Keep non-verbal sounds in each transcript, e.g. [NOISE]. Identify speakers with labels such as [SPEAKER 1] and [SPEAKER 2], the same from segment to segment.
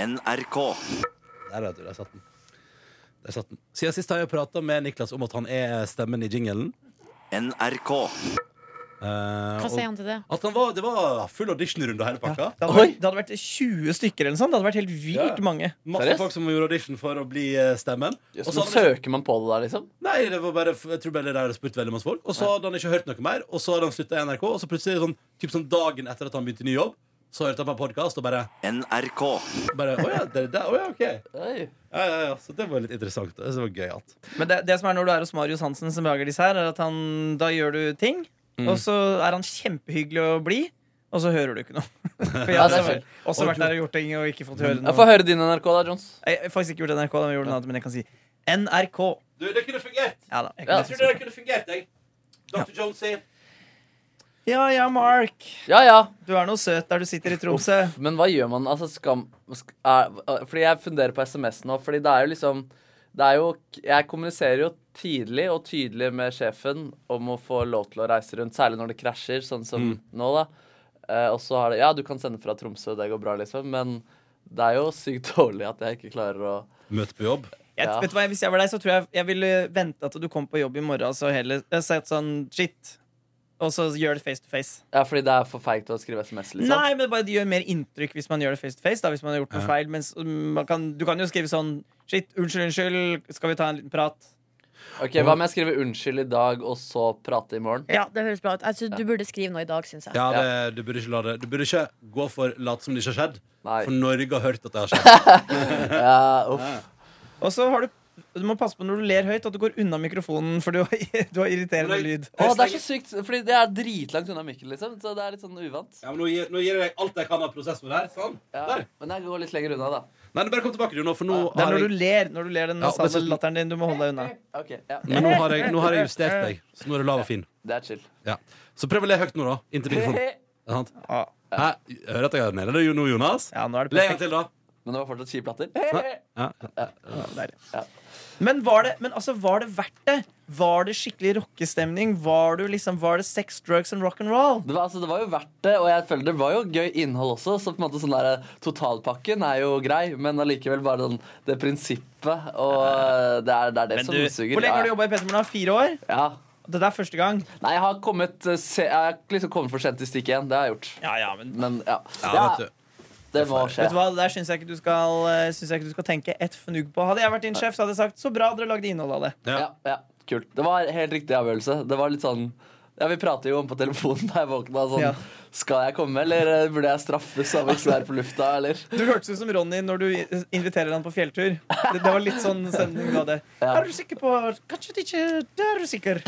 [SPEAKER 1] NRK.
[SPEAKER 2] Der, vet du, der satt den. Der satt den. Siden sist har jeg prata med Niklas om at han er stemmen i jinglen.
[SPEAKER 1] NRK.
[SPEAKER 2] Eh, og
[SPEAKER 3] Hva sier han til det?
[SPEAKER 2] At han var, det var full auditionrunde og hele pakka.
[SPEAKER 4] Det hadde,
[SPEAKER 5] Oi.
[SPEAKER 4] vært, det hadde vært 20 stykker eller noe sånt. Det hadde vært helt vilt
[SPEAKER 5] Ja.
[SPEAKER 4] mange.
[SPEAKER 2] Masse
[SPEAKER 5] Seriøst?
[SPEAKER 2] folk som gjorde audition for å bli eh, stemmen.
[SPEAKER 5] Jøss,
[SPEAKER 2] Og så
[SPEAKER 5] men
[SPEAKER 2] hadde han ikke-
[SPEAKER 5] søker man på det der, liksom?
[SPEAKER 2] Nei, det var bare, jeg tror bare det der spurt veldig masse folk Og så hadde han ikke hørt noe mer, og så hadde han slutta i NRK. Og så plutselig, sånn, typ sånn dagen etter at han begynte i ny jobb, så hørte han på en podkast og bare,
[SPEAKER 1] NRK.
[SPEAKER 2] bare Å ja, det er der, å ja, ok.
[SPEAKER 5] Oi.
[SPEAKER 2] Ja, ja, ja. Så det var litt interessant. Det var gøyalt.
[SPEAKER 4] Men det, det som er når du er hos Marius Hansen, som lager disse her, er at han, da gjør du ting,
[SPEAKER 5] Mm.
[SPEAKER 4] og så er han kjempehyggelig å bli, og så hører du ikke noe. [LAUGHS] For jeg
[SPEAKER 5] Ja,
[SPEAKER 4] har
[SPEAKER 5] det er
[SPEAKER 4] også,
[SPEAKER 5] synd.
[SPEAKER 4] også vært der og gjort ting og ikke fått høre
[SPEAKER 5] Jeg får
[SPEAKER 4] noe.
[SPEAKER 5] høre din NRK, da, Jones.
[SPEAKER 4] Jeg har faktisk ikke gjort NRK, da, men jeg gjorde noe annet, men jeg kan si NRK.
[SPEAKER 2] Du, det kunne fungert.
[SPEAKER 4] Ja da. Jeg kan
[SPEAKER 5] Ja, jeg
[SPEAKER 4] lese
[SPEAKER 2] Jeg
[SPEAKER 4] sånn.
[SPEAKER 2] tror det kunne fungert, jeg. Dr. Jonesy.
[SPEAKER 4] ja ja, Mark.
[SPEAKER 5] Ja, ja.
[SPEAKER 4] Du er noe søt der du sitter i Tromsø.
[SPEAKER 5] Men hva gjør man? Altså, skal, sk- er, eh, fordi jeg funderer på SMS nå, fordi det er jo liksom det er jo, Jeg kommuniserer jo tidlig og tydelig med sjefen om å få lov til å reise rundt, særlig når det krasjer, sånn som
[SPEAKER 2] Mm.
[SPEAKER 5] nå, da. Eh, og så har det Ja, du kan sende fra Tromsø, det går bra, liksom, men det er jo sykt [LAUGHS] dårlig at jeg ikke klarer å
[SPEAKER 2] Møte på jobb.
[SPEAKER 4] Jeg,
[SPEAKER 5] Ja.
[SPEAKER 4] vet du hva, Hvis jeg var deg, så tror jeg jeg ville vente at du kom på jobb i morgen, og så heller eh, sagt sånn shit, og så gjør det face to face.
[SPEAKER 5] Ja, fordi det er for feigt å skrive SMS, liksom.
[SPEAKER 4] Nei, men bare det gjør mer inntrykk hvis man gjør det face to face. Da, hvis man har gjort noe feil mens, mm, man kan, Du kan jo skrive sånn Shit, unnskyld, unnskyld, skal vi ta en liten prat?
[SPEAKER 5] Ok, Hva om jeg skriver 'unnskyld' i dag, og så prate i morgen?
[SPEAKER 3] Ja, det høres bra ut. Jeg synes, du burde skrive noe i dag, syns jeg.
[SPEAKER 2] Ja, det, du, burde ikke la det, du burde ikke gå for late som det ikke har skjedd.
[SPEAKER 5] Nei.
[SPEAKER 2] For Norge har hørt at det har
[SPEAKER 5] [LAUGHS]
[SPEAKER 2] skjedd.
[SPEAKER 5] Ja, uff.
[SPEAKER 4] Og så har du du må passe på når du ler høyt, at du går unna mikrofonen, for du har, [LAUGHS] du har irriterende
[SPEAKER 2] Men
[SPEAKER 4] lyd.
[SPEAKER 2] jeg-
[SPEAKER 5] Å, det er så sykt, fordi det er dritlangt unna Mikkel, liksom, så det er litt sånn uvant.
[SPEAKER 2] Ja, men nå, gir, nå gir jeg deg alt jeg kan av prosessor her. Sånn.
[SPEAKER 5] Ja,
[SPEAKER 2] Der.
[SPEAKER 5] men jeg går litt lenger unna, da.
[SPEAKER 2] Nei, bare kom tilbake, du, nå, for nå
[SPEAKER 4] Det er
[SPEAKER 2] har
[SPEAKER 4] når
[SPEAKER 2] jeg,
[SPEAKER 4] du ler, når du ler den
[SPEAKER 2] Ja,
[SPEAKER 4] nasale
[SPEAKER 2] dessuten-
[SPEAKER 4] latteren din. Du må holde deg unna.
[SPEAKER 5] Ok, ja.
[SPEAKER 2] [LAUGHS] men nå, har jeg, nå har jeg justert deg, så nå er du lav og fin.
[SPEAKER 5] Det er chill.
[SPEAKER 2] Ja. Så prøv å le høyt nå, da. Inntil
[SPEAKER 5] [LAUGHS]
[SPEAKER 2] mikrofonen. Er
[SPEAKER 5] Men
[SPEAKER 2] det sant?
[SPEAKER 4] Ah,
[SPEAKER 2] Hæ? Hører at jeg har nede? Det er jo nå, Jonas.
[SPEAKER 4] ja, nå er det
[SPEAKER 2] Le en gang
[SPEAKER 4] perfekt.
[SPEAKER 2] til, da.
[SPEAKER 5] det var fortsatt kjipe latter.
[SPEAKER 2] Ja.
[SPEAKER 4] Ja, deilig.
[SPEAKER 5] Ja.
[SPEAKER 4] Men, var det, men altså, var det verdt det? Var det skikkelig rockestemning? Var, du liksom, var det sex, drugs and rock and roll?
[SPEAKER 5] Det var, altså, det var jo verdt det, og jeg føler det var jo gøy innhold også. Så på en måte sånn der, totalpakken er jo grei, men allikevel bare den, det prinsippet. Og eh, det er det, er det
[SPEAKER 4] Men
[SPEAKER 5] som
[SPEAKER 4] du,
[SPEAKER 5] suger.
[SPEAKER 4] hvor lenge har du
[SPEAKER 5] Ja,
[SPEAKER 4] jobba i P3 Morgen? Fire år?
[SPEAKER 5] Ja.
[SPEAKER 4] Dette er første gang.
[SPEAKER 5] Nei, jeg har kommet, eh, se, jeg har liksom kommet for sent i stikk én. Det har jeg gjort.
[SPEAKER 4] Ja, ja, men
[SPEAKER 5] Men ja.
[SPEAKER 2] Ja, vet du.
[SPEAKER 5] det må skje.
[SPEAKER 4] Vet du hva, Der syns jeg, ikke du skal, eh, syns jeg ikke du skal tenke et fnugg på. Hadde jeg vært din sjef, så hadde jeg sagt så bra dere lagde innhold av det.
[SPEAKER 2] Ja.
[SPEAKER 5] Ja, ja, kult. Det var helt riktig avgjørelse. Det var litt sånn ja, Vi prater jo om på telefonen da jeg våkna. Sånn,
[SPEAKER 4] Ja.
[SPEAKER 5] Skal jeg komme, eller eh, burde jeg straffes av å ikke være på lufta? Eller?
[SPEAKER 4] Du hørtes ut som Ronny når du i- inviterer han på fjelltur. Det, det var litt sånn stemning du hadde.
[SPEAKER 5] Ja.
[SPEAKER 4] Er du sikker på Kanskje det ikke Det er du sikker.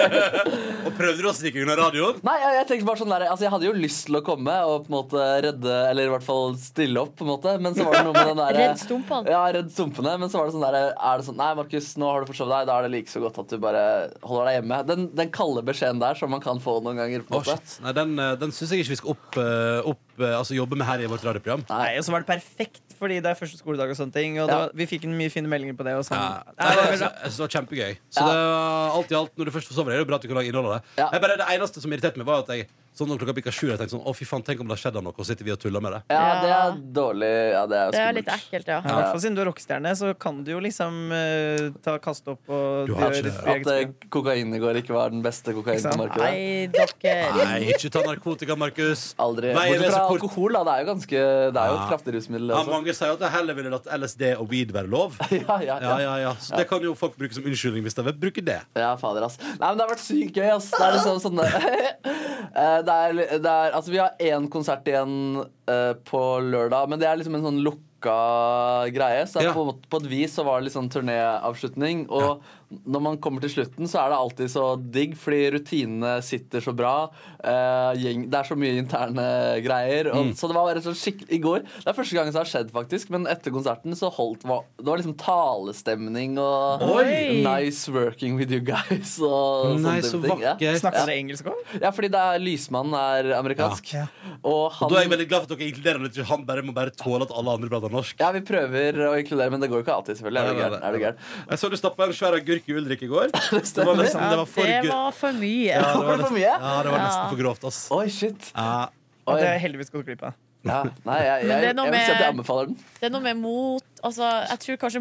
[SPEAKER 2] Og prøvde du å snike unna radioen?
[SPEAKER 5] [LAUGHS] Nei, jeg, jeg tenkte bare sånn der, altså, jeg hadde jo lyst til å komme og på en måte redde Eller i hvert fall stille opp, på en måte. Men så var det noe
[SPEAKER 3] [LAUGHS]
[SPEAKER 5] med den der,
[SPEAKER 3] Redd stumpene.
[SPEAKER 5] Ja, redd stumpene. Men så var det sånn der, er det sånn Nei, Markus, nå har du forsovet deg. Da er det like så godt at du bare holder deg hjemme. Den, den kalde beskjeden der som man kan få noen ganger. på
[SPEAKER 2] Å,
[SPEAKER 5] en måte
[SPEAKER 2] shit. Nei, den, eh, den syns jeg ikke vi skal opp, eh, opp eh, Altså jobbe med her i vårt radioprogram.
[SPEAKER 4] Nei, Og så var det perfekt, fordi det er første skoledag og sånne ting. Og det
[SPEAKER 5] Ja.
[SPEAKER 4] var, vi fikk inn mye fine meldinger på det. Og sånn.
[SPEAKER 2] Ja.
[SPEAKER 4] Nei, det var
[SPEAKER 2] jeg
[SPEAKER 4] bra.
[SPEAKER 2] syns det var kjempegøy. Så det var alt i alt, når du først forsover deg, er det bra at du kan lage innhold av det.
[SPEAKER 5] Ja.
[SPEAKER 2] Jeg bare, det eneste som irriterte meg, var at jeg sånn når klokka pikka sju, jeg tenkte sånn Å, fy faen, tenk om det har skjedd av noe, og så sitter vi og tuller med det.
[SPEAKER 5] Ja, det
[SPEAKER 3] Ja.
[SPEAKER 5] er dårlig. Ja, det er jo
[SPEAKER 3] Det er litt
[SPEAKER 5] skummelt.
[SPEAKER 3] ekkelt, ja.
[SPEAKER 4] Ja, I hvert fall siden du er rockestjerne, så kan du jo liksom eh, ta kaste opp og
[SPEAKER 2] Du har ikke
[SPEAKER 4] gjøre
[SPEAKER 2] det.
[SPEAKER 4] ditt eget
[SPEAKER 5] At eh,
[SPEAKER 4] spill.
[SPEAKER 5] kokain i går ikke var den beste kokainen
[SPEAKER 4] sant?
[SPEAKER 5] på markedet.
[SPEAKER 3] Nei, dere.
[SPEAKER 2] Nei, ikke ta narkotika, Markus.
[SPEAKER 5] Aldri.
[SPEAKER 2] Veien
[SPEAKER 5] Bortsett
[SPEAKER 2] er
[SPEAKER 5] fra
[SPEAKER 2] så kort.
[SPEAKER 5] alkohol, da. Det er jo ganske Det er
[SPEAKER 2] Ja.
[SPEAKER 5] jo et kraftig rusmiddel.
[SPEAKER 2] Ja,
[SPEAKER 5] Også.
[SPEAKER 2] mange sier at jeg heller ville latt LSD og weed være lov.
[SPEAKER 5] [LAUGHS] Ja, ja,
[SPEAKER 2] Ja,
[SPEAKER 5] ja.
[SPEAKER 2] ja, ja. Så det kan jo folk bruke som unnskyldning hvis de vil bruke det.
[SPEAKER 5] Ja, fader, ass. Nei, men det har vært sykt gøy, ass. Det er liksom sånn [LAUGHS] Eh, det er, det er, Altså, vi har én konsert igjen eh, på lørdag, men det er liksom en sånn lukka greie. Så
[SPEAKER 2] Ja.
[SPEAKER 5] på, en måte- på et vis så var det litt sånn turnéavslutning. Og når man kommer til slutten, så er det alltid så digg, fordi rutinene sitter så bra. Eh, gjeng, det er så mye interne greier. Og, Så det var rett og slett skikkelig I går Det er første gang det har skjedd, faktisk, men etter konserten så holdt var, Det var liksom talestemning og
[SPEAKER 3] Oi!
[SPEAKER 5] Nice working with you guys. Og
[SPEAKER 2] Nei,
[SPEAKER 5] sånne
[SPEAKER 2] så
[SPEAKER 5] type ting, ja.
[SPEAKER 2] vakkert.
[SPEAKER 4] Snakker dere engelsk òg?
[SPEAKER 5] Ja, fordi det er Lysmannen er amerikansk.
[SPEAKER 4] Ja.
[SPEAKER 5] Og
[SPEAKER 2] Og da er jeg
[SPEAKER 5] han
[SPEAKER 2] veldig glad for at dere inkluderer han ikke. Han bare må bare tåle at alle andre prater norsk.
[SPEAKER 5] Ja, vi prøver å inkludere, men det går jo ikke alltid, selvfølgelig. Er du
[SPEAKER 2] Nei, nei,
[SPEAKER 5] gæren?
[SPEAKER 2] nei,
[SPEAKER 5] Er du
[SPEAKER 2] nei.
[SPEAKER 5] gæren?
[SPEAKER 2] Jeg så du stappa en svær agurk i Ulrik i
[SPEAKER 5] [LAUGHS]
[SPEAKER 2] går. Det var, nesten, det var for
[SPEAKER 3] Det
[SPEAKER 2] gøy.
[SPEAKER 3] var for mye.
[SPEAKER 2] Ja, det
[SPEAKER 5] Var
[SPEAKER 2] var
[SPEAKER 5] det for
[SPEAKER 2] nesten,
[SPEAKER 5] mye?
[SPEAKER 2] ja, det var nesten
[SPEAKER 3] Ja.
[SPEAKER 2] for grovt, ass.
[SPEAKER 5] Oi, shit.
[SPEAKER 2] Ja.
[SPEAKER 4] Og
[SPEAKER 5] Oi.
[SPEAKER 4] det er heldigvis gått glipp av.
[SPEAKER 5] Ja, nei, jeg, jeg,
[SPEAKER 3] Men det er
[SPEAKER 5] jeg,
[SPEAKER 3] noe
[SPEAKER 5] vil si at jeg
[SPEAKER 3] med-
[SPEAKER 5] anbefaler den.
[SPEAKER 3] Det er noe med mot Altså, jeg tror kanskje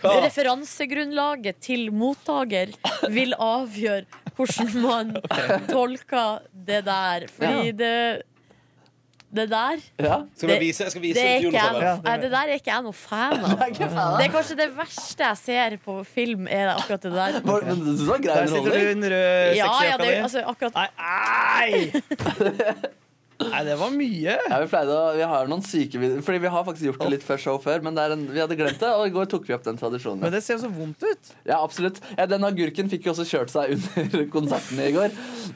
[SPEAKER 4] Hva?
[SPEAKER 3] referansegrunnlaget til mottaker vil avgjøre hvordan man tolker det der. Fordi det Det der
[SPEAKER 5] Ja.
[SPEAKER 2] Skal vi vise, skal vi
[SPEAKER 3] det
[SPEAKER 2] vise
[SPEAKER 3] er,
[SPEAKER 2] til
[SPEAKER 3] ikke jeg,
[SPEAKER 2] Jonathan?
[SPEAKER 3] noe- nei, det der er ikke jeg noe fan av. Det er kanskje det verste jeg ser på film, er akkurat det der.
[SPEAKER 5] Hvor- Men du sa grei
[SPEAKER 4] Der sitter du i
[SPEAKER 5] underholdning.
[SPEAKER 4] den røde
[SPEAKER 3] Ja, ja,
[SPEAKER 4] sekkejakka
[SPEAKER 3] det,
[SPEAKER 4] di.
[SPEAKER 3] altså, akkurat
[SPEAKER 4] Nei, ei! [LAUGHS] Nei, det var mye.
[SPEAKER 5] Ja, vi, pleide å, vi har noen syke vid- Fordi vi har faktisk gjort det litt før show før, men det er en, vi hadde glemt det, og i går tok vi opp den tradisjonen.
[SPEAKER 4] Men det ser jo så vondt ut.
[SPEAKER 5] Ja, absolutt. Ja, den agurken fikk jo også kjørt seg under [LAUGHS] konserten i går.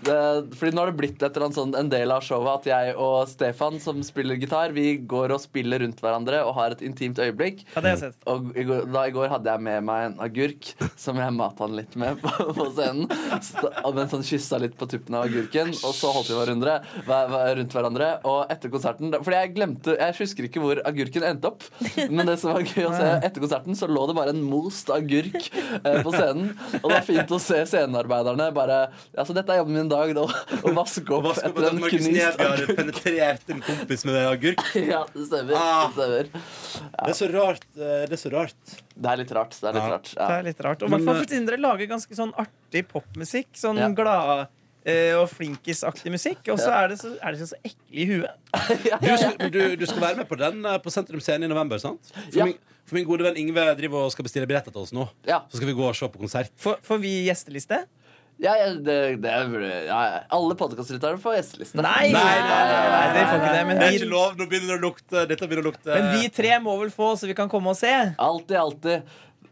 [SPEAKER 5] Det, fordi nå har det blitt et eller annet sånn, en del av showet at jeg og Stefan, som spiller gitar, vi går og spiller rundt hverandre og har et intimt øyeblikk.
[SPEAKER 4] Ja, det har jeg sett.
[SPEAKER 5] Og i går, da i går hadde jeg med meg en agurk som jeg mata han litt med på, på scenen. Så, da- og mens han kyssa litt på tuppen av agurken, og så holdt vi hverandre hver- hver- rundt hverandre. Og etter konserten da- Fordi jeg glemte Jeg husker ikke hvor agurken endte opp, men det som var gøy å se etter konserten, så lå det bare en most agurk eh, på scenen. Og det var fint å se scenearbeiderne bare Altså, dette er jobben min i dag, da, å vaske opp
[SPEAKER 2] Hva skal
[SPEAKER 5] etter en
[SPEAKER 2] Markus
[SPEAKER 5] knust
[SPEAKER 2] Neby har penetrert en kompis med agurk?
[SPEAKER 5] [LAUGHS] Ja, det stemmer.
[SPEAKER 2] Ah.
[SPEAKER 5] Det stemmer.
[SPEAKER 2] Det er så rart. eh, Det er så rart.
[SPEAKER 5] Det er litt rart. Det er litt
[SPEAKER 2] Ja.
[SPEAKER 5] rart. Ja.
[SPEAKER 4] Det er litt rart. Og i
[SPEAKER 2] Men,
[SPEAKER 4] hvert fall
[SPEAKER 2] eh,
[SPEAKER 4] for Sindre lager ganske sånn artig popmusikk. Sånn
[SPEAKER 5] Ja.
[SPEAKER 4] glad eh, og flinkisaktig musikk. Og så er det så, er det så, så ekle i huet.
[SPEAKER 2] Du skal, men du, du skal være med på den eh, på Sentrum Scene i november, sant? For,
[SPEAKER 5] Ja.
[SPEAKER 2] min, for min gode venn Ingve driver og skal bestille billetter til oss nå.
[SPEAKER 5] Ja.
[SPEAKER 2] Så skal vi gå og se på konsert.
[SPEAKER 4] Får får vi gjesteliste?
[SPEAKER 5] Ja, ja, det, det er, ja, ja. alle podkastlyttere får gjesteliste.
[SPEAKER 4] Nei!
[SPEAKER 2] Nei, nei, nei,
[SPEAKER 4] Nei, dere får ikke det.
[SPEAKER 2] Det er
[SPEAKER 4] Men
[SPEAKER 2] ikke
[SPEAKER 4] vi,
[SPEAKER 2] lov. Nå begynner det å lukte. Dette begynner å lukte
[SPEAKER 4] men vi tre må vel få, så vi kan komme og se.
[SPEAKER 5] Alltid, alltid.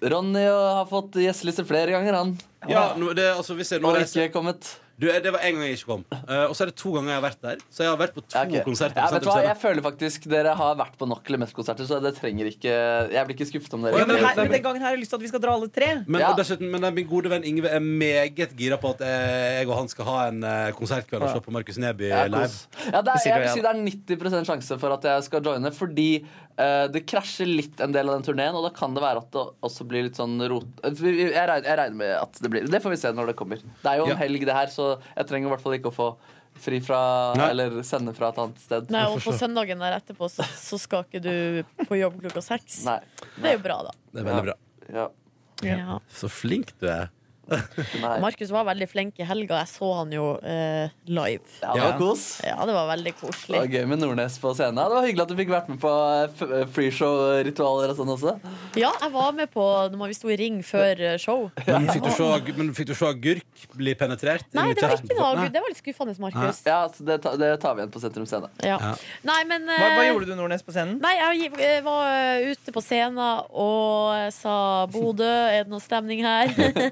[SPEAKER 5] Ronny og, har fått gjesteliste flere ganger, han.
[SPEAKER 2] ja, nå, det, altså, vi ser, nå
[SPEAKER 5] Og
[SPEAKER 2] reiser-
[SPEAKER 5] ikke kommet.
[SPEAKER 2] Du, det var en gang jeg ikke kom. Eh, og så er det to ganger jeg har vært der. Så jeg har vært på to
[SPEAKER 5] Ja, ok.
[SPEAKER 2] konserter.
[SPEAKER 5] Ja,
[SPEAKER 2] på
[SPEAKER 5] vet du
[SPEAKER 2] Sentrum
[SPEAKER 5] hva?
[SPEAKER 2] Scene.
[SPEAKER 5] Jeg føler faktisk dere har vært på nok Lemes-konserter, så det trenger ikke Jeg blir ikke skuffet
[SPEAKER 2] Å,
[SPEAKER 5] om dere.
[SPEAKER 2] ja,
[SPEAKER 4] Men, her,
[SPEAKER 2] nei,
[SPEAKER 4] men den gangen her har jeg lyst til at vi skal dra alle tre.
[SPEAKER 2] Men,
[SPEAKER 5] Ja.
[SPEAKER 2] og dessuten, men min gode venn Ingve er meget gira på at eh, jeg og han skal ha en eh, konsertkveld og se på Markus Neby
[SPEAKER 5] Ja,
[SPEAKER 2] live.
[SPEAKER 5] kos. Ja, det er,
[SPEAKER 4] sier
[SPEAKER 5] jeg
[SPEAKER 4] du
[SPEAKER 5] vil
[SPEAKER 4] igjen.
[SPEAKER 5] si det er 90 sjanse for at jeg skal joine, fordi eh, det krasjer litt en del av den turneen, og da kan det være at det også blir litt sånn rot... Jeg regner, jeg regner med at det blir Det får vi se når det kommer. Det er jo en
[SPEAKER 2] Ja.
[SPEAKER 5] helg, det her, så jeg trenger i hvert fall ikke å få fri fra
[SPEAKER 2] Nei.
[SPEAKER 5] Eller sende fra et annet sted.
[SPEAKER 3] Nei, og på søndagen der etterpå så, så skal ikke du på jobb klokka seks.
[SPEAKER 5] Nei.
[SPEAKER 3] Det er jo bra, da.
[SPEAKER 2] Det er veldig bra.
[SPEAKER 5] Ja.
[SPEAKER 3] Ja.
[SPEAKER 2] Så flink du er.
[SPEAKER 5] Nei.
[SPEAKER 3] Markus var veldig flink i helga. Jeg så han jo eh, live.
[SPEAKER 5] Ja, det var kos.
[SPEAKER 3] Ja, det var veldig
[SPEAKER 5] Det var
[SPEAKER 3] koselig.
[SPEAKER 5] gøy med Nordnes på scenen. Det var hyggelig at du fikk vært med på eh, f- freeshow-ritualer og sånn også.
[SPEAKER 3] Ja, jeg var med på når vi sto i ring før eh, show.
[SPEAKER 2] [LAUGHS] Men fikk du se, men fikk du se agurk bli penetrert?
[SPEAKER 3] Nei,
[SPEAKER 2] inn i
[SPEAKER 3] det var
[SPEAKER 2] kjeften?
[SPEAKER 3] ikke noe.
[SPEAKER 2] Nei.
[SPEAKER 3] Det var litt skuffende, Markus.
[SPEAKER 5] Ja, så det, ta, det tar vi igjen på Sentrum Scene.
[SPEAKER 3] Ja.
[SPEAKER 2] Ja.
[SPEAKER 3] Nei, men
[SPEAKER 4] Hva, hva
[SPEAKER 3] eh,
[SPEAKER 4] gjorde du, Nordnes, på scenen?
[SPEAKER 3] Nei, jeg gi- eh, var eh, ute på scenen og eh, sa 'Bodø, er det noe stemning her?' [LAUGHS]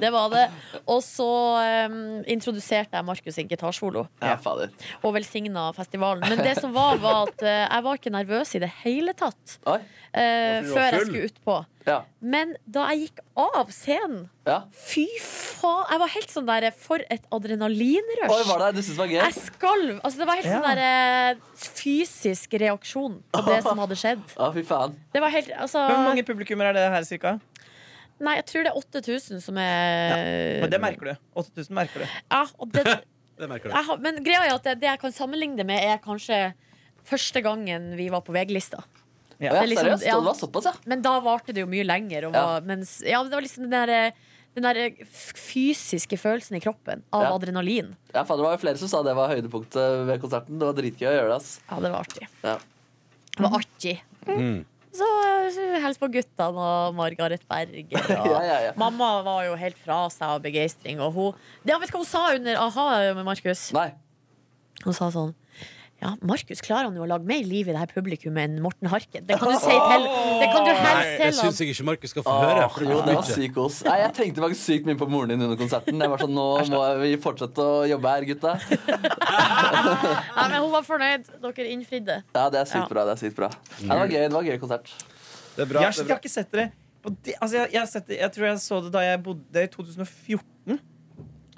[SPEAKER 3] det var det. Og så eh, introduserte jeg Markus sin gitarsolo.
[SPEAKER 5] Ja, fader.
[SPEAKER 3] og velsigna festivalen. Men det som var, var at eh, jeg var ikke nervøs i det hele tatt
[SPEAKER 5] Oi.
[SPEAKER 2] Hvorfor
[SPEAKER 3] eh,
[SPEAKER 2] du var
[SPEAKER 3] før jeg
[SPEAKER 2] full?
[SPEAKER 3] skulle utpå.
[SPEAKER 5] Ja.
[SPEAKER 3] Men da jeg gikk av scenen
[SPEAKER 5] ja.
[SPEAKER 3] Fy faen! Jeg var helt sånn der eh, For et
[SPEAKER 5] Oi,
[SPEAKER 3] adrenalinrush!
[SPEAKER 5] var det? Du syns det var gøy?
[SPEAKER 3] Jeg skalv! Altså, det var helt sånn
[SPEAKER 4] Ja.
[SPEAKER 3] der eh, fysisk reaksjon på det som hadde skjedd.
[SPEAKER 5] Å, fy faen.
[SPEAKER 3] Det var helt Altså
[SPEAKER 4] Hvor mange publikummer er det her, cirka?
[SPEAKER 3] Nei, jeg tror det er 8000 som er
[SPEAKER 4] Og det merker du. 8000 merker du.
[SPEAKER 3] Ja, og det,
[SPEAKER 2] Det merker du.
[SPEAKER 3] jeg har, Men greia er at det, det jeg kan sammenligne det med, er kanskje første gangen vi var på VG-lista.
[SPEAKER 5] Å, ja,
[SPEAKER 3] Det er liksom-
[SPEAKER 5] seriøst?
[SPEAKER 3] ja.
[SPEAKER 5] Det var såpass, ja.
[SPEAKER 3] Men da varte det jo mye lenger. Og
[SPEAKER 5] Ja.
[SPEAKER 3] var, mens, ja, det var liksom den der, den der eh, f- fysiske følelsen i kroppen av
[SPEAKER 5] Ja.
[SPEAKER 3] adrenalin.
[SPEAKER 5] ja faen, det var jo flere som sa det var høydepunktet ved konserten. Det var dritgøy å gjøre det. ass.
[SPEAKER 3] Ja, det var artig.
[SPEAKER 5] Ja.
[SPEAKER 3] Det var artig.
[SPEAKER 2] Mm.
[SPEAKER 3] Så eh, hils på guttene og Margaret Berg. Og
[SPEAKER 5] [LAUGHS] Ja, ja, ja.
[SPEAKER 3] Mamma var jo helt fra seg av begeistring. Og hun ja, Vet du hva hun sa under a-ha, eh, Markus?
[SPEAKER 5] Nei.
[SPEAKER 3] Hun sa sånn ja, Markus klarer han jo å lage mer liv i det her publikummet enn Morten Harket. Det kan du si til Det kan du
[SPEAKER 2] Nei,
[SPEAKER 3] helst
[SPEAKER 2] det
[SPEAKER 3] til han.
[SPEAKER 2] syns jeg ikke Markus skal få høre. For det
[SPEAKER 5] jo,
[SPEAKER 2] blir
[SPEAKER 5] det
[SPEAKER 2] for
[SPEAKER 5] var
[SPEAKER 2] mye.
[SPEAKER 5] sykt kos. Nei, Jeg tenkte faktisk sykt mye på moren din under konserten. Jeg var sånn, Nå må vi fortsette å jobbe her, gutta.
[SPEAKER 3] Nei, men hun var fornøyd. Dere innfridde.
[SPEAKER 5] Ja, det er sykt
[SPEAKER 3] Ja.
[SPEAKER 5] bra. det er sykt bra ja, Det var gøy det var gøy konsert.
[SPEAKER 2] Det er bra.
[SPEAKER 4] Jeg,
[SPEAKER 2] det
[SPEAKER 4] har- jeg
[SPEAKER 2] er bra.
[SPEAKER 4] har ikke sett dere på det. Altså, jeg, jeg, har sett det. jeg tror jeg så det da jeg bodde i 2014.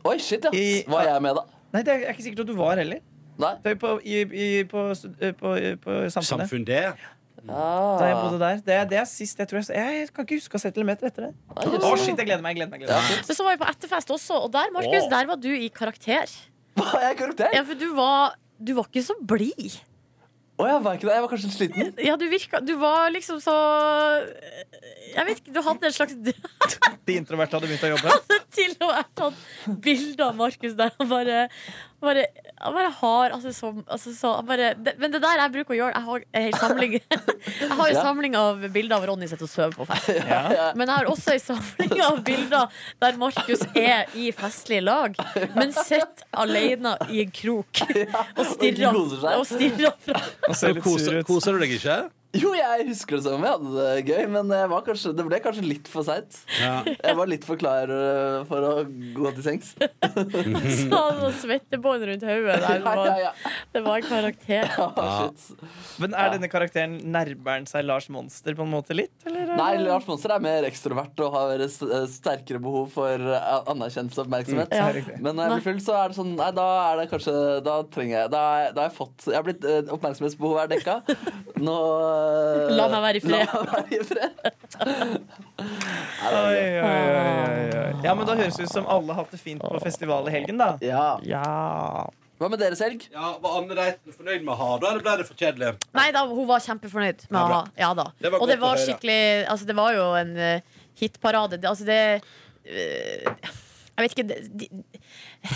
[SPEAKER 5] Oi, shit, ja.
[SPEAKER 4] I-
[SPEAKER 5] Var jeg med, da?
[SPEAKER 4] Nei, det er jeg er ikke sikkert at du var heller.
[SPEAKER 5] Nei?
[SPEAKER 4] Det er på, i, i, på, stud- eh, på, eh, på samfunnet.
[SPEAKER 2] Samfunn, det.
[SPEAKER 4] Da jeg sånn-
[SPEAKER 5] Ah.
[SPEAKER 4] bodde der. Det, er- det er sist jeg tror jeg så- Jeg kan ikke huske å ha sett eller meter etter det.
[SPEAKER 5] Nei,
[SPEAKER 4] Å,
[SPEAKER 5] jøss.
[SPEAKER 4] shit, jeg gleder meg. Jeg gleder meg, jeg gleder
[SPEAKER 5] Ja,
[SPEAKER 4] meg.
[SPEAKER 5] shit.
[SPEAKER 3] Men så var vi på etterfest også, og der, Markus,
[SPEAKER 2] Åh.
[SPEAKER 3] der var du i karakter.
[SPEAKER 5] Var jeg karakter?
[SPEAKER 3] Ja, for du var Du var ikke så blid.
[SPEAKER 5] Å, jeg var ikke det. Jeg var kanskje litt sliten.
[SPEAKER 3] Ja, du virka Du var liksom så Jeg vet ikke, du hadde en slags [LAUGHS] Du
[SPEAKER 4] De introverte hadde begynt å [LAUGHS] jobbe.
[SPEAKER 3] hadde til og med tatt bilde av Markus der og bare bare, han bare har altså, så, altså, så, han bare, det, Men det der jeg bruker å gjøre Jeg har ei samling [LAUGHS] Jeg har en
[SPEAKER 5] Ja.
[SPEAKER 3] samling av bilder av Ronny sitter og sover på fest.
[SPEAKER 4] Ja.
[SPEAKER 3] Men jeg har også ei samling av bilder der Markus er i festlig lag, men sitter alene i en krok og
[SPEAKER 5] ikke
[SPEAKER 3] stirrer,
[SPEAKER 5] koser seg.
[SPEAKER 3] og stirrer fra
[SPEAKER 4] Og ser litt sur
[SPEAKER 2] Koser,
[SPEAKER 4] ut.
[SPEAKER 2] koser du deg ikke?
[SPEAKER 5] Jo, jeg husker det som om jeg hadde det gøy, men jeg var kanskje, det ble kanskje litt for seint.
[SPEAKER 2] Ja.
[SPEAKER 5] Jeg var litt for klar øh, for å gå til
[SPEAKER 3] [LAUGHS]
[SPEAKER 5] sengs.
[SPEAKER 3] sånn og svettebånd rundt hodet. der. Det
[SPEAKER 5] [LAUGHS] Ja,
[SPEAKER 3] var-
[SPEAKER 5] ja, ja.
[SPEAKER 3] Det var en karakter.
[SPEAKER 5] Ah, shit.
[SPEAKER 4] Men er denne karakteren nærmer han seg Lars Monster på en måte litt? Eller?
[SPEAKER 5] Nei, Lars Monser er mer ekstrovert og har s- eh, sterkere behov for øh, anerkjennelse og oppmerksomhet.
[SPEAKER 3] Mm, Ja.
[SPEAKER 5] Men når jeg blir full, så er det sånn Nei, da er det kanskje Da trenger jeg Da, er- da har jeg fått Jeg har blitt eh, Oppmerksomhetsbehovet er
[SPEAKER 3] [LAUGHS]
[SPEAKER 5] dekka. Nå eh,
[SPEAKER 3] La meg være i fred.
[SPEAKER 5] La meg være i
[SPEAKER 2] [LAUGHS]
[SPEAKER 5] fred.
[SPEAKER 4] Oi, oi, oi, oi, oi. Ja, men da høres det ut som alle hatt det fint på festival i helgen, da.
[SPEAKER 5] Ja.
[SPEAKER 4] Ja.
[SPEAKER 5] Hva med deres helg?
[SPEAKER 2] Ja, Var Anne Reiten fornøyd med å ha det, eller ble det for kjedelig?
[SPEAKER 3] Nei da, hun var kjempefornøyd med
[SPEAKER 2] Ja,
[SPEAKER 3] å
[SPEAKER 2] bra.
[SPEAKER 3] ha Ja da.
[SPEAKER 2] Det var
[SPEAKER 3] Og
[SPEAKER 2] godt
[SPEAKER 3] det
[SPEAKER 2] å
[SPEAKER 3] var
[SPEAKER 2] høre.
[SPEAKER 3] skikkelig Altså, det var jo en eh, hitparade. Det, altså, det eh, Jeg vet ikke det- de,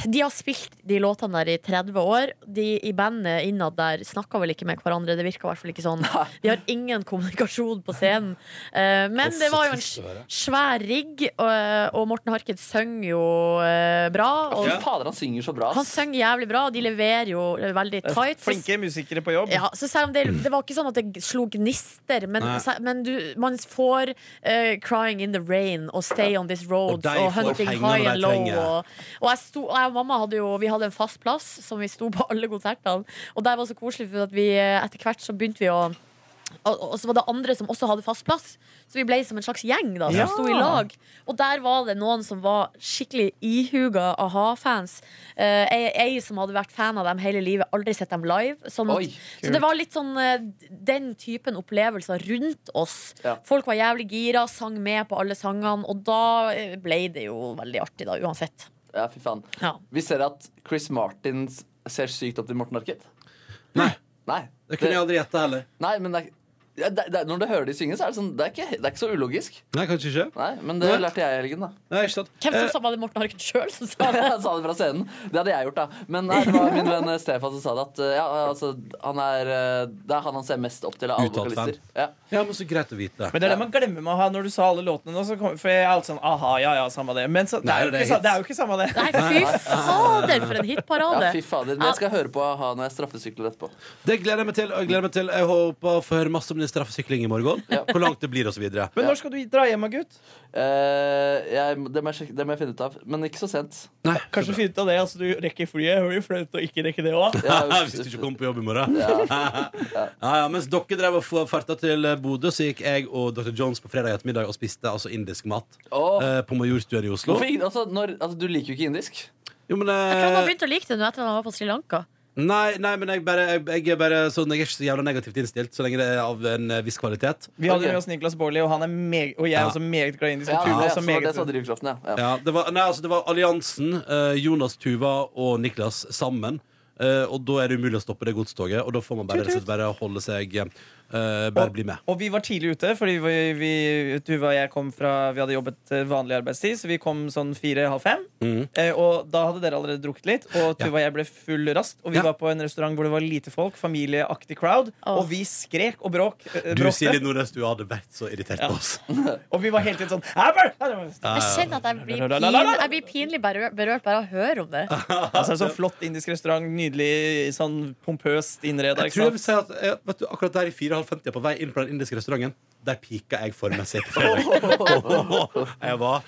[SPEAKER 3] de har spilt de låtene der i 30 år. De i bandet innad der snakka vel ikke med hverandre. Det virka i hvert fall ikke sånn. De har ingen kommunikasjon på scenen. Eh, men
[SPEAKER 2] Å,
[SPEAKER 3] det
[SPEAKER 2] så
[SPEAKER 3] var jo en
[SPEAKER 2] trist å
[SPEAKER 3] sj-
[SPEAKER 2] høre.
[SPEAKER 3] svær rigg, eh, og, og Morten Harket søng jo eh, bra. Og
[SPEAKER 5] Fy fader, han synger så bra.
[SPEAKER 3] han
[SPEAKER 5] ass.
[SPEAKER 3] synger jævlig bra, og de leverer jo eh, veldig tight. Så-
[SPEAKER 4] Flinke musikere på jobb.
[SPEAKER 3] ja, så selv om det, det var ikke sånn at det slo gnister, men,
[SPEAKER 2] Mm. Nei.
[SPEAKER 3] se- men du, man får eh, 'Crying in the Rain' og 'Stay on This Road'
[SPEAKER 2] Og de
[SPEAKER 3] og,
[SPEAKER 2] får
[SPEAKER 3] 'Hunting
[SPEAKER 2] pengene
[SPEAKER 3] High
[SPEAKER 2] de
[SPEAKER 3] and Low'.
[SPEAKER 2] trenger.
[SPEAKER 3] Og, og jeg, sto, og jeg og mamma hadde jo Vi hadde en fast plass som vi sto på alle konsertene, og der var det så koselig, for at vi eh, etter hvert så begynte vi å og, og så var det andre som også hadde fast plass. Så vi ble som en slags gjeng da, som
[SPEAKER 4] Ja.
[SPEAKER 3] sto i lag. Og der var det noen som var skikkelig ihuga a-ha-fans. Eh, ei, ei som hadde vært fan av dem hele livet, aldri sett dem live. Sånn at,
[SPEAKER 5] Oi,
[SPEAKER 3] så det var litt sånn eh, den typen opplevelser rundt oss.
[SPEAKER 5] Ja.
[SPEAKER 3] Folk var jævlig gira, sang med på alle sangene, og da eh, ble det jo veldig artig, da, uansett.
[SPEAKER 5] Ja, fy faen.
[SPEAKER 3] Ja.
[SPEAKER 5] Vi ser at Chris Martin s- ser sykt opp til Morten Arket.
[SPEAKER 2] Nei,
[SPEAKER 5] Nei.
[SPEAKER 2] det kunne jeg aldri gjette heller.
[SPEAKER 5] Nei, men det er, ja, det, det, når du hører de synge, så er det sånn Det er ikke, det er ikke så ulogisk.
[SPEAKER 2] Nei, kanskje ikke.
[SPEAKER 5] Nei, Men det
[SPEAKER 2] Nei.
[SPEAKER 5] lærte jeg i helgen, da. [LAUGHS]
[SPEAKER 2] Nei, ikke sant.
[SPEAKER 3] Hvem
[SPEAKER 2] Eh,
[SPEAKER 3] som sa var det Morten Harket sjøl som sa det?
[SPEAKER 5] Jeg sa det fra scenen. Det hadde jeg gjort, da. Men nei, det var min venn Stefan som sa det. At eh, ja, altså, han er, eh, det er han han ser mest opp til av alle
[SPEAKER 2] Uttalt
[SPEAKER 5] vokalister. Ja.
[SPEAKER 2] Eh, Ja, men så greit å vite.
[SPEAKER 4] Men det er det man glemmer med å ha når du sa alle låtene nå. Så kom, for jeg er alltid sånn aha, ja, ja, samme det. Men så, det,
[SPEAKER 2] Nei,
[SPEAKER 4] er jo
[SPEAKER 2] det er
[SPEAKER 4] ikke, sa-
[SPEAKER 2] hits.
[SPEAKER 4] det er jo ikke samme det.
[SPEAKER 3] Nei, fy fader, for en
[SPEAKER 5] ja,
[SPEAKER 3] hitparade!
[SPEAKER 5] fy fader. Men jeg skal høre på a-ha når jeg straffesykler etterpå.
[SPEAKER 2] Det gleder jeg meg til. og Jeg gleder meg til Jeg håper å få høre masse om din straffesykling i morgen.
[SPEAKER 5] Ja.
[SPEAKER 2] Hvor langt det blir, osv.
[SPEAKER 4] Men når skal du dra hjem, da, gutt?
[SPEAKER 5] Eh, jeg, det, må jeg sjekke, det må jeg finne ut av. Men ikke så sent.
[SPEAKER 4] Kanskje finne ut av det. Altså, du rekker flyet. Det blir flaut å ikke rekke det òg.
[SPEAKER 5] [LAUGHS]
[SPEAKER 2] [LAUGHS] Hvis du ikke kommer på jobb i morgen. [LAUGHS] Ja, ja, mens dere drev og f- farta til Bodø, så gikk jeg og Dr. Jones på fredag ettermiddag og spiste altså indisk mat
[SPEAKER 5] Åh.
[SPEAKER 2] eh, på Majorstuen i Oslo.
[SPEAKER 5] Hvorfor ikke- altså, når, altså, du liker jo ikke indisk.
[SPEAKER 2] Jo, men, eh,
[SPEAKER 3] Tror han har begynt å like det nå etter at han var på Sri Lanka.
[SPEAKER 2] nei, nei, men jeg, bare, jeg, jeg er bare sånn, jeg er ikke så jævla negativt innstilt, så lenge det er av en eh, viss kvalitet.
[SPEAKER 4] Vi hadde
[SPEAKER 5] Ok.
[SPEAKER 4] med oss Niklas Baarli, og, han er meg- og jeg er
[SPEAKER 2] Ja.
[SPEAKER 4] også meget glad i indisk
[SPEAKER 5] Ja,
[SPEAKER 4] kultur.
[SPEAKER 5] det,
[SPEAKER 4] også
[SPEAKER 5] så,
[SPEAKER 4] meget-
[SPEAKER 5] det sa drivkraften, ja. ja.
[SPEAKER 2] Ja, det var, nei, altså, det var alliansen, eh, Jonas Tuva og Niklas sammen. Eh, og da er det umulig å stoppe det godstoget, og da får man bare, rett og slett bare holde seg eh, Bare bli med.
[SPEAKER 4] Og vi var tidlig ute, fordi vi, vi, Tuva og jeg kom fra Vi hadde jobbet eh, vanlig arbeidstid, så vi kom sånn fire-halv fem.
[SPEAKER 2] Mm.
[SPEAKER 4] Eh, og da hadde dere allerede drukket litt, og Tuva og jeg ble full raskt. Og vi
[SPEAKER 2] Ja.
[SPEAKER 4] var på en restaurant hvor det var lite folk, familieaktig crowd,
[SPEAKER 3] Åh.
[SPEAKER 4] og vi skrek og bråk. eh,
[SPEAKER 2] Du,
[SPEAKER 4] bråkte.
[SPEAKER 2] Silje Nordnes, du hadde vært så irritert på oss.
[SPEAKER 4] Og vi var helt litt sånn «Æbæl!» Og
[SPEAKER 3] Jeg kjenner at jeg blir, pin,
[SPEAKER 4] Lalalala.
[SPEAKER 3] jeg blir pinlig berørt, berørt bare av å høre om det.
[SPEAKER 4] så er det sånn flott indisk restaurant, nydelig sånn pompøst innreda.
[SPEAKER 2] Jeg tror jeg vil si at eh, vet du, Akkurat der i 54 på vei inn på den indiske restauranten, der pika jeg formessig på fredag. [LAUGHS] Jeg var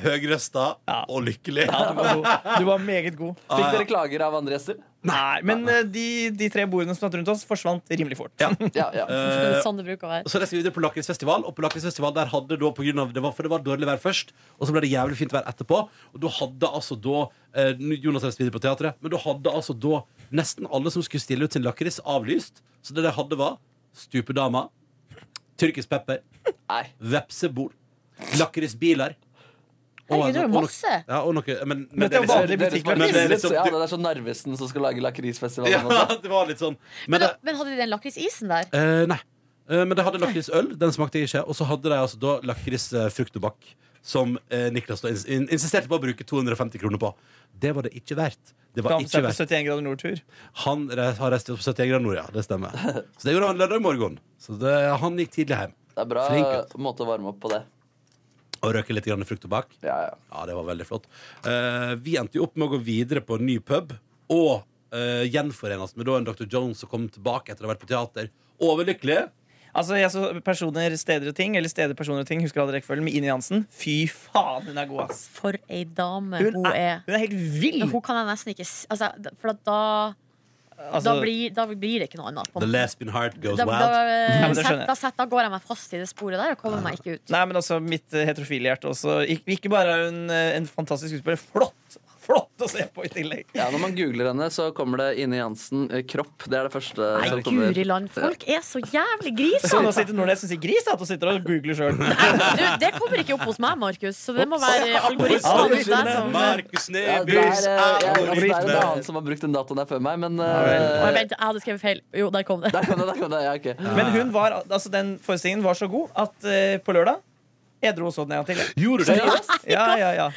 [SPEAKER 2] høyrøsta og lykkelig.
[SPEAKER 4] Du var, god. du var meget god.
[SPEAKER 5] Fikk
[SPEAKER 2] Eh,
[SPEAKER 5] dere klager av andre gjester?
[SPEAKER 4] Nei, men eh, de, de tre bordene som satt rundt oss, forsvant rimelig fort.
[SPEAKER 5] Ja, ja.
[SPEAKER 2] eh,
[SPEAKER 3] sånn det bruker å være.
[SPEAKER 2] Så reiste vi videre på Lakrisfestival, og på Lakrisfestival der hadde da på grunn av, det var, For det var dårlig vær først, og så ble det jævlig fint vær etterpå. Og da hadde altså da eh, nu- Jonas reiste videre på teatret, men da hadde altså da nesten alle som skulle stille ut sin lakris, avlyst. Så det de hadde, var stupedama, tyrkisk pepper,
[SPEAKER 5] Nei.
[SPEAKER 2] vepsebol, lakrisbiler
[SPEAKER 3] Herregud, det er jo
[SPEAKER 2] og-
[SPEAKER 3] masse.
[SPEAKER 2] Ja, og noe, men, men
[SPEAKER 4] Dette er
[SPEAKER 2] liksom-
[SPEAKER 4] vanlig butikk,
[SPEAKER 5] Men
[SPEAKER 2] men det er
[SPEAKER 5] det
[SPEAKER 2] liksom-
[SPEAKER 5] ja, det er sånn Narvesen som skal lage lakrisfestival. og
[SPEAKER 2] [LAUGHS] Ja,
[SPEAKER 5] sånt.
[SPEAKER 2] det var litt sånn. Men
[SPEAKER 3] Men,
[SPEAKER 2] det,
[SPEAKER 3] da- men hadde de den lakrisisen der?
[SPEAKER 2] eh, nei. Eh, men det hadde lakrisøl. Den smakte jeg ikke. Og så hadde de altså da lakrisfruktobakk. Som eh, Niklas da ins in insisterte på å bruke 250 kroner på. Det var det ikke verdt. Det var
[SPEAKER 4] Kan
[SPEAKER 2] ikke
[SPEAKER 4] seg på
[SPEAKER 2] verdt.
[SPEAKER 4] 71 grader nord-tur.
[SPEAKER 2] Han re har reist opp på 70 grader nord, ja. Det
[SPEAKER 3] [LAUGHS]
[SPEAKER 2] stemmer. Så det gjorde han lørdag morgen. Så det, han gikk tidlig hjem.
[SPEAKER 5] Det er bra
[SPEAKER 2] Flink, gutt.
[SPEAKER 5] måte å varme opp på det.
[SPEAKER 2] Og røyka litt grann fruktobakk.
[SPEAKER 5] Ja, ja.
[SPEAKER 2] Ja, det var veldig flott. Eh, vi endte jo opp med å gå videre på en ny pub og uh, gjenforenes med da en Dr. Jones som kom tilbake etter å ha vært på teater. Overlykkelig.
[SPEAKER 4] Altså, jeg så personer, steder og ting, eller steder, personer og ting, husker alle rekkefølgen, med Ine Jansen. Fy faen, hun er god, ass.
[SPEAKER 3] For ei dame
[SPEAKER 4] Hun
[SPEAKER 3] hun
[SPEAKER 4] er,
[SPEAKER 3] er.
[SPEAKER 4] hun er helt vill!
[SPEAKER 3] Hun kan jeg nesten ikke s- altså, da- For at da, da,
[SPEAKER 4] Altså,
[SPEAKER 3] blir, da blir det ikke noe annet. på
[SPEAKER 2] The
[SPEAKER 3] en måte.
[SPEAKER 2] lesbian heart goes
[SPEAKER 3] Da, da,
[SPEAKER 2] wild.
[SPEAKER 4] Ja, men det skjønner
[SPEAKER 3] set,
[SPEAKER 4] jeg.
[SPEAKER 3] da, set, da går jeg meg fast i det sporet der og kommer meg ikke ut.
[SPEAKER 4] Nei, men også mitt eh, heterofile hjerte også. Ik ikke bare er hun eh, en fantastisk skuespiller, flott! Flott å se på i tillegg.
[SPEAKER 5] Ja, Når man googler henne, så kommer det Ine Jansen eh, kropp. Det er det første
[SPEAKER 3] Nei,
[SPEAKER 5] som kommer.
[SPEAKER 3] guri land, folk er så jævlig
[SPEAKER 4] Så nå
[SPEAKER 3] griser!
[SPEAKER 4] sitter Nordnes og sier gris, at hun sitter og googler sjøl.
[SPEAKER 3] Du, det kommer ikke opp hos meg, Markus, så det må være
[SPEAKER 4] Ja,
[SPEAKER 3] algoritmen. sånn.
[SPEAKER 4] det
[SPEAKER 3] ute der
[SPEAKER 4] skjønner
[SPEAKER 3] som-
[SPEAKER 2] Markus
[SPEAKER 5] Ja, det er,
[SPEAKER 2] Nebys
[SPEAKER 5] eh, ja, altså, det er en
[SPEAKER 2] algoritme.
[SPEAKER 5] annen som har brukt den datoen der før meg, men
[SPEAKER 4] vel.
[SPEAKER 3] Oi,
[SPEAKER 5] eh,
[SPEAKER 3] Vent, jeg hadde skrevet feil. Jo, der kom det.
[SPEAKER 5] Der kom det, der kom det. Ja, ok.
[SPEAKER 4] Men hun var, altså, den forestillingen var så god at eh, på lørdag Jeg dro og så den en gang
[SPEAKER 3] [LAUGHS]
[SPEAKER 4] til.
[SPEAKER 2] Gjorde du det?
[SPEAKER 5] Seriøst?
[SPEAKER 4] Ja, ja, ja.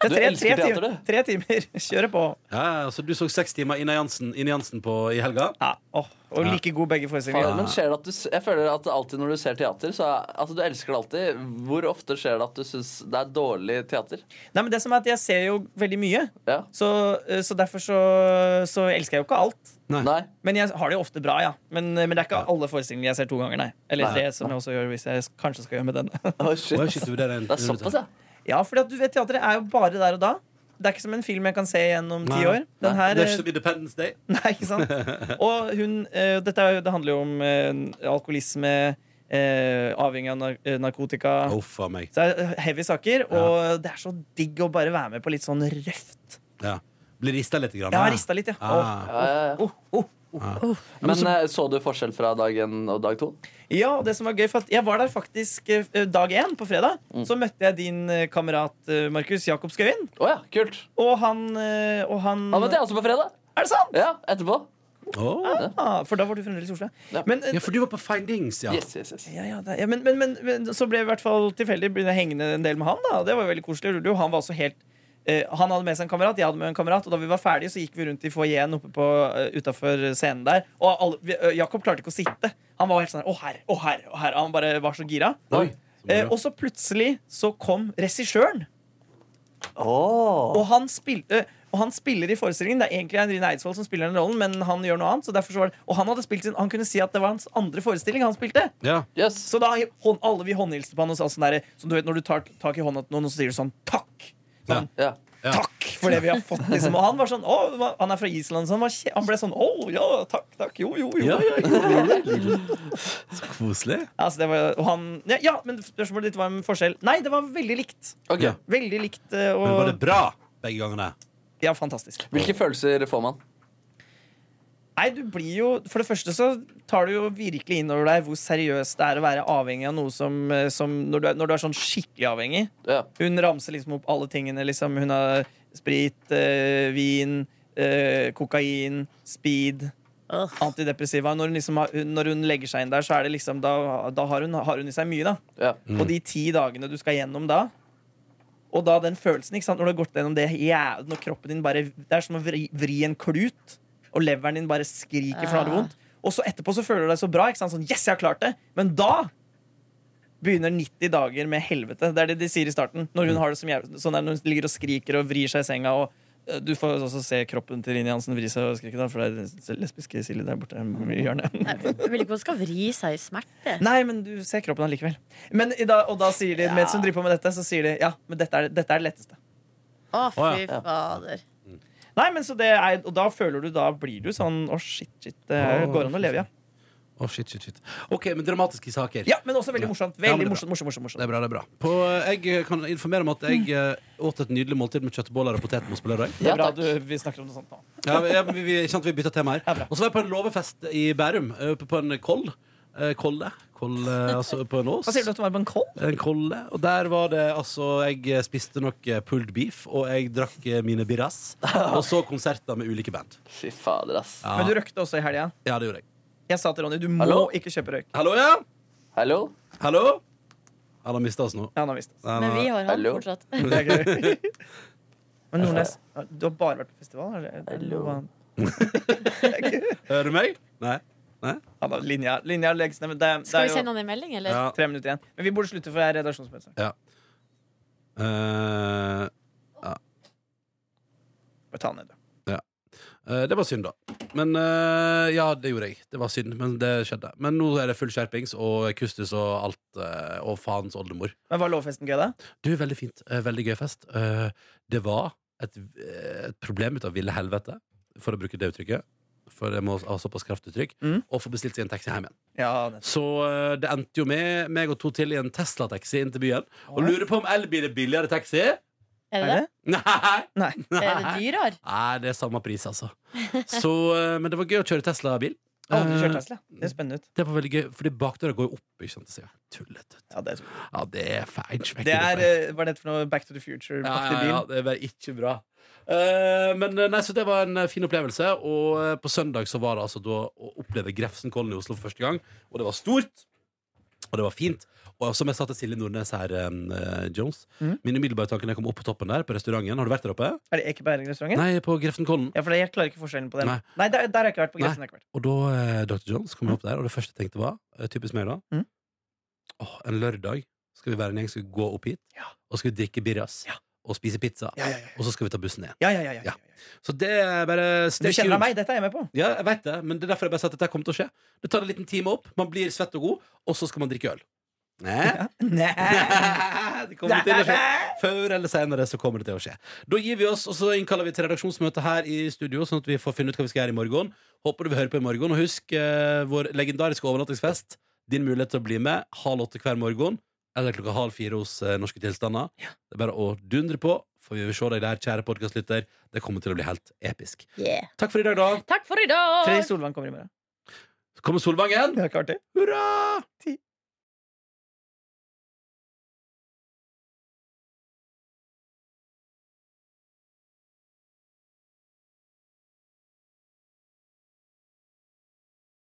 [SPEAKER 4] Det
[SPEAKER 5] Du
[SPEAKER 4] er tre,
[SPEAKER 5] elsker
[SPEAKER 4] tre, timer,
[SPEAKER 5] teater, du.
[SPEAKER 4] tre timer. Kjøre på.
[SPEAKER 2] Ja, ja, så du så seks timer Ine Jansen, Ine Jansen på, i helga?
[SPEAKER 4] Ja, åh, og like god begge
[SPEAKER 5] Ja,
[SPEAKER 4] forestillinger.
[SPEAKER 5] Men skjer det at du, s- jeg føler at alltid når du ser teater, så er- altså, du elsker det alltid. Hvor ofte skjer det at du syns det er dårlig teater?
[SPEAKER 4] Nei, men det som er at Jeg ser jo veldig mye,
[SPEAKER 5] Ja.
[SPEAKER 4] så, eh, så derfor så, så elsker jeg jo ikke alt.
[SPEAKER 5] Nei?
[SPEAKER 4] Men jeg har det jo ofte bra, ja. Men, eh, men det er ikke alle forestillinger jeg ser to ganger, nei. Eller tre, som jeg også gjør hvis jeg s- kanskje skal gjøre med denne. [LAUGHS]
[SPEAKER 5] Å, shit.
[SPEAKER 2] Oi,
[SPEAKER 5] ass.
[SPEAKER 2] shit, du vurderer en-
[SPEAKER 5] Det er såpass, ja.
[SPEAKER 4] Ja, fordi at du vet, teatret er jo bare der og da. Det er ikke som en film jeg kan se igjen om ti
[SPEAKER 2] Nei.
[SPEAKER 4] år. Den her,
[SPEAKER 2] Det er ikke som Independence Day.
[SPEAKER 4] [LAUGHS] Nei,
[SPEAKER 2] [LAUGHS]
[SPEAKER 4] ikke sant? Og hun eh, Dette er, jo- det handler jo om eh, alkoholisme, eh, avhengig av nar eh, narkotika.
[SPEAKER 2] Å, faen meg.
[SPEAKER 4] Så det er heavy saker, og det er så digg å bare være med på litt sånn røft.
[SPEAKER 2] Ja. Blir rista litt. Grann,
[SPEAKER 4] Jeg har
[SPEAKER 2] ja.
[SPEAKER 4] rista litt, ja.
[SPEAKER 2] Ah.
[SPEAKER 4] Åh,
[SPEAKER 5] Ja, ja, ja.
[SPEAKER 4] åh, åh.
[SPEAKER 5] Men eh, så du forskjell fra dag én og dag to?
[SPEAKER 4] Ja, og det som var gøy, for at jeg var der faktisk eh, dag én, på fredag.
[SPEAKER 5] Mm.
[SPEAKER 4] Så møtte jeg din eh, kamerat eh, Markus Jakob Skøyen.
[SPEAKER 5] Å ja, kult.
[SPEAKER 4] Og han, eh, og han
[SPEAKER 5] Da møtte jeg også på fredag.
[SPEAKER 4] Er det sant?!
[SPEAKER 5] Ja, etterpå.
[SPEAKER 2] Å.
[SPEAKER 4] Ah, for da var du fremdeles i Oslo.
[SPEAKER 5] Ja.
[SPEAKER 4] Men, eh,
[SPEAKER 2] ja, for du var på Findings, ja.
[SPEAKER 5] Yes, yes, yes.
[SPEAKER 4] ja, ja, det, ja, men, men, men, men så ble jeg i hvert fall tilfeldig begynne hengende en del med han. da Det var jo veldig koselig. og Han var også helt eh, han hadde med seg en kamerat, jeg hadde med en kamerat. Og da vi var ferdige, så gikk vi rundt i foajeen uh, utafor scenen der. Og alle, vi, eh, Jakob klarte ikke å sitte. Han var helt sånn her, Å, her, å, her. Å, her. Han bare var så gira.
[SPEAKER 2] Oi.
[SPEAKER 4] Eh, og så plutselig så kom regissøren. Og, han spil, eh, og han spiller i forestillingen. Det er egentlig Eirin Eidsvoll som spiller den rollen, men han gjør noe annet. Så derfor så var det, og han hadde spilt sin, han kunne si at det var hans andre forestilling han spilte.
[SPEAKER 2] Ja.
[SPEAKER 5] Yes.
[SPEAKER 4] Så da hånd, alle vi håndhilste på han og sa sånn derre Så du vet når du tar tak i hånda til noen, og så sier du sånn takk. Sånn,
[SPEAKER 5] Ja.
[SPEAKER 2] Ja.
[SPEAKER 4] Takk for det vi har fått, liksom. Og han var sånn, å, hva- han er fra Island, så han, var, kje- han ble sånn, å, ja, takk, takk, jo, jo, jo.
[SPEAKER 2] Ja, ja, ja. Så koselig.
[SPEAKER 4] Altså, det var, og han, ja, ja, men spørsmålet ditt var en forskjell. Nei, det var veldig likt.
[SPEAKER 5] Ok.
[SPEAKER 2] Ja.
[SPEAKER 4] Veldig likt. eh,
[SPEAKER 2] Men var det
[SPEAKER 4] Og,
[SPEAKER 2] bra begge gangene?
[SPEAKER 4] ja, fantastisk.
[SPEAKER 5] Hvilke følelser får man?
[SPEAKER 4] Nei, du blir jo For det første så tar du jo virkelig inn over deg hvor seriøst det er å være avhengig av noe som, eh, som når, du er, når du er sånn skikkelig avhengig.
[SPEAKER 5] Ja.
[SPEAKER 4] Hun ramser liksom opp alle tingene. Liksom. Hun har sprit, eh, vin, eh, kokain, speed,
[SPEAKER 3] Åh.
[SPEAKER 4] antidepressiva. Når hun, liksom har, hun- når hun legger seg inn der, så er det liksom Da, da har, hun, har hun i seg mye, da.
[SPEAKER 5] Ja.
[SPEAKER 4] Og de ti dagene du skal gjennom da og da den følelsen, ikke sant? når du har gått gjennom det jævlig, Når kroppen din bare Det er som å vri, vri en klut, og leveren din bare skriker for å ha det
[SPEAKER 3] Ah.
[SPEAKER 4] vondt. Og så etterpå så føler du deg så bra. Ikke sant? Sånn, yes, jeg har klart det Men da begynner 90 dager med helvete. Det er det de sier i starten. Når hun har det som jævlig, sånn der, når hun ligger og skriker og vrir seg i senga. Og øh, du får også se kroppen til Line Jansen vri seg og skrike, da, for det er lesbiske Silje der borte i hjørnet.
[SPEAKER 3] Jeg vil ikke hun skal vri seg i smerte.
[SPEAKER 4] Nei, men du ser kroppen allikevel. Men i da, og da sier de, mens hun driver på med dette, så sier de ja, men dette er, dette er det letteste.
[SPEAKER 3] Å, fy
[SPEAKER 2] Å,
[SPEAKER 3] fader.
[SPEAKER 4] Nei, men så det er, Og da føler du, da blir du sånn Å, shit, shit. Det er-
[SPEAKER 2] Å,
[SPEAKER 4] går an å leve, ja.
[SPEAKER 2] Å, shit, shit, shit. OK, men dramatiske saker.
[SPEAKER 4] Ja, Men også veldig morsomt.
[SPEAKER 2] Ja, men det
[SPEAKER 4] Veldig
[SPEAKER 2] er
[SPEAKER 4] morsomt, morsomt, morsomt,
[SPEAKER 2] Det
[SPEAKER 4] morsomt.
[SPEAKER 2] er bra. det er bra På, Jeg kan informere om at jeg eh, åt et nydelig måltid med kjøttboller og potetmos på lørdag.
[SPEAKER 4] Det
[SPEAKER 5] Ja,
[SPEAKER 4] er bra
[SPEAKER 5] takk.
[SPEAKER 4] du, vi snakker om noe sånt nå.
[SPEAKER 2] Ja, vi, ja, men vi, vi, ikke sant, vi bytta tema her.
[SPEAKER 4] Ja, bra.
[SPEAKER 2] Og så var jeg på en låvefest i Bærum, eh, oppe på en koll. eh, kolle. Kolle altså, på en ås.
[SPEAKER 4] Hva sier du at det var på en koll?
[SPEAKER 2] En kolle. Og der var det altså Jeg spiste nok eh, pulled beef, og jeg drakk eh, mine
[SPEAKER 4] [LAUGHS]
[SPEAKER 2] birras. Og så konserter med ulike band.
[SPEAKER 5] Fy fader, ass.
[SPEAKER 2] Ja,
[SPEAKER 4] Men du røkte også i helga.
[SPEAKER 2] ja det gjorde jeg.
[SPEAKER 4] Jeg sa til Ronny du må
[SPEAKER 5] Hallo?
[SPEAKER 4] ikke kjøpe røyk.
[SPEAKER 2] Hallo, ja?
[SPEAKER 5] Hallo?
[SPEAKER 2] Hallo? Han har mista oss nå.
[SPEAKER 4] Ja, han har visst det.
[SPEAKER 2] Han
[SPEAKER 3] Men vi
[SPEAKER 2] har-
[SPEAKER 3] har han
[SPEAKER 5] Hallo?
[SPEAKER 3] fortsatt.
[SPEAKER 4] Det er gøy.
[SPEAKER 2] [LAUGHS]
[SPEAKER 4] Men Nordnes, du har bare vært på festival? Eller?
[SPEAKER 5] Hallo.
[SPEAKER 2] Hører du meg? Nei. Nei?
[SPEAKER 4] Han har linja, linja legges ned. Men det, det
[SPEAKER 3] Skal
[SPEAKER 4] er
[SPEAKER 3] vi
[SPEAKER 4] jo
[SPEAKER 3] sende han en melding, eller?
[SPEAKER 2] Ja.
[SPEAKER 4] tre minutter igjen. Men vi burde slutte, for det er redaksjonsmøte.
[SPEAKER 2] Eh,
[SPEAKER 4] Bare ta den ned. du.
[SPEAKER 2] eh, det var synd, da. Men eh, Ja, det gjorde jeg. Det var synd, men det skjedde. Men nå er det full skjerpings og kustus og alt. eh, og faens oldemor.
[SPEAKER 4] Men var lovfesten gøy, da?
[SPEAKER 2] Du, veldig fint. Eh, Veldig gøy fest. Eh, Det var et, eh, et problem ut av ville helvete, for å bruke det uttrykket. For det må ha såpass kraftuttrykk.
[SPEAKER 4] Mm.
[SPEAKER 2] Og få bestilt seg en taxi hjem igjen.
[SPEAKER 4] Ja, nettopp.
[SPEAKER 2] Så eh, det endte jo med meg og to til i en Tesla-taxi inn til byen. Og lurer på om elbil er billigere taxi? [LAUGHS]
[SPEAKER 3] Er
[SPEAKER 4] Er
[SPEAKER 3] det det?
[SPEAKER 4] det?
[SPEAKER 2] Nei!
[SPEAKER 4] Nei.
[SPEAKER 3] Er det dyrere?
[SPEAKER 2] Nei, det er samme pris, altså. Så, eh, men det var gøy å kjøre Tesla-bil.
[SPEAKER 4] Jeg har aldri kjørt
[SPEAKER 2] Eh,
[SPEAKER 4] Tesla. Det er spennende ut.
[SPEAKER 2] Det var veldig gøy, fordi bakdøra går jo opp. Ikke sant? Så jeg tullet ut.
[SPEAKER 4] Ja, det, er-
[SPEAKER 2] Ja, det er feil smekk. i
[SPEAKER 4] det er,
[SPEAKER 2] det.
[SPEAKER 4] eh, Var dette for noe Back to the
[SPEAKER 2] ja,
[SPEAKER 4] Future-aktig
[SPEAKER 2] ja,
[SPEAKER 4] bil?
[SPEAKER 2] ja, det var ikke bra. Eh, men eh, nei, så det var en eh, fin opplevelse. Og eh, på søndag så var det altså da å oppleve Grefsenkollen i Oslo for første gang. Og det var stort. Og det var fint. Og som jeg sa til Silje Nordnes her, eh, Jones
[SPEAKER 4] Mhm.
[SPEAKER 2] Min umiddelbare tanke da jeg kom opp på toppen der, på restauranten Har du vært der oppe?
[SPEAKER 4] Er det Ekeberg-restauranten?
[SPEAKER 2] Nei, på Grefsenkollen.
[SPEAKER 4] Ja, for jeg klarer ikke forskjellen på den.
[SPEAKER 2] Nei.
[SPEAKER 4] Nei, der, der har jeg ikke vært. på Grefsen,
[SPEAKER 2] Nei.
[SPEAKER 4] har jeg ikke vært.
[SPEAKER 2] Og da eh, Dr. Jones kom opp der, og det første jeg tenkte var eh, Typisk meg, da.
[SPEAKER 4] Mm.
[SPEAKER 2] Åh, en lørdag skal vi være en gjeng, skal vi gå opp hit,
[SPEAKER 4] Ja.
[SPEAKER 2] og skal vi drikke birras
[SPEAKER 4] Ja.
[SPEAKER 2] og spise pizza.
[SPEAKER 4] Ja, ja, ja,
[SPEAKER 2] Og så skal vi ta bussen igjen.
[SPEAKER 4] ja, ja, ja, ja, ja.
[SPEAKER 2] Så det er bare
[SPEAKER 4] Du
[SPEAKER 2] stay
[SPEAKER 4] kjenner
[SPEAKER 2] tuned.
[SPEAKER 4] meg, dette er
[SPEAKER 2] [LAUGHS]
[SPEAKER 4] jeg med på.
[SPEAKER 2] Ja, jeg vet det, men det er derfor jeg bare sa at dette kommer til å skje. Det tar en liten time opp, man blir svett og god, og så skal man drikke øl. Nei.
[SPEAKER 4] Nei.
[SPEAKER 2] [LAUGHS] det kommer til å skje. Før eller senere så kommer det til å skje. Da gir vi oss, og så innkaller vi til redaksjonsmøte her i studio, sånn at vi får finne ut hva vi skal gjøre i morgen. Håper du vil høre på i morgen. Og husk eh, vår legendariske overnattingsfest. Din mulighet til å bli med halv åtte hver morgen, eller klokka halv fire hos eh, Norske Tilstander. Det er bare å dundre på, for vi vil se deg der, kjære podkastlytter. Det kommer til å bli helt episk.
[SPEAKER 3] Yeah.
[SPEAKER 2] Takk for i dag, da.
[SPEAKER 3] Takk for i dag!
[SPEAKER 4] Fredrik Solvang kommer i morgen.
[SPEAKER 2] Så kommer Solvangen.
[SPEAKER 4] Det er ikke artig.
[SPEAKER 2] Hurra!
[SPEAKER 4] Ti.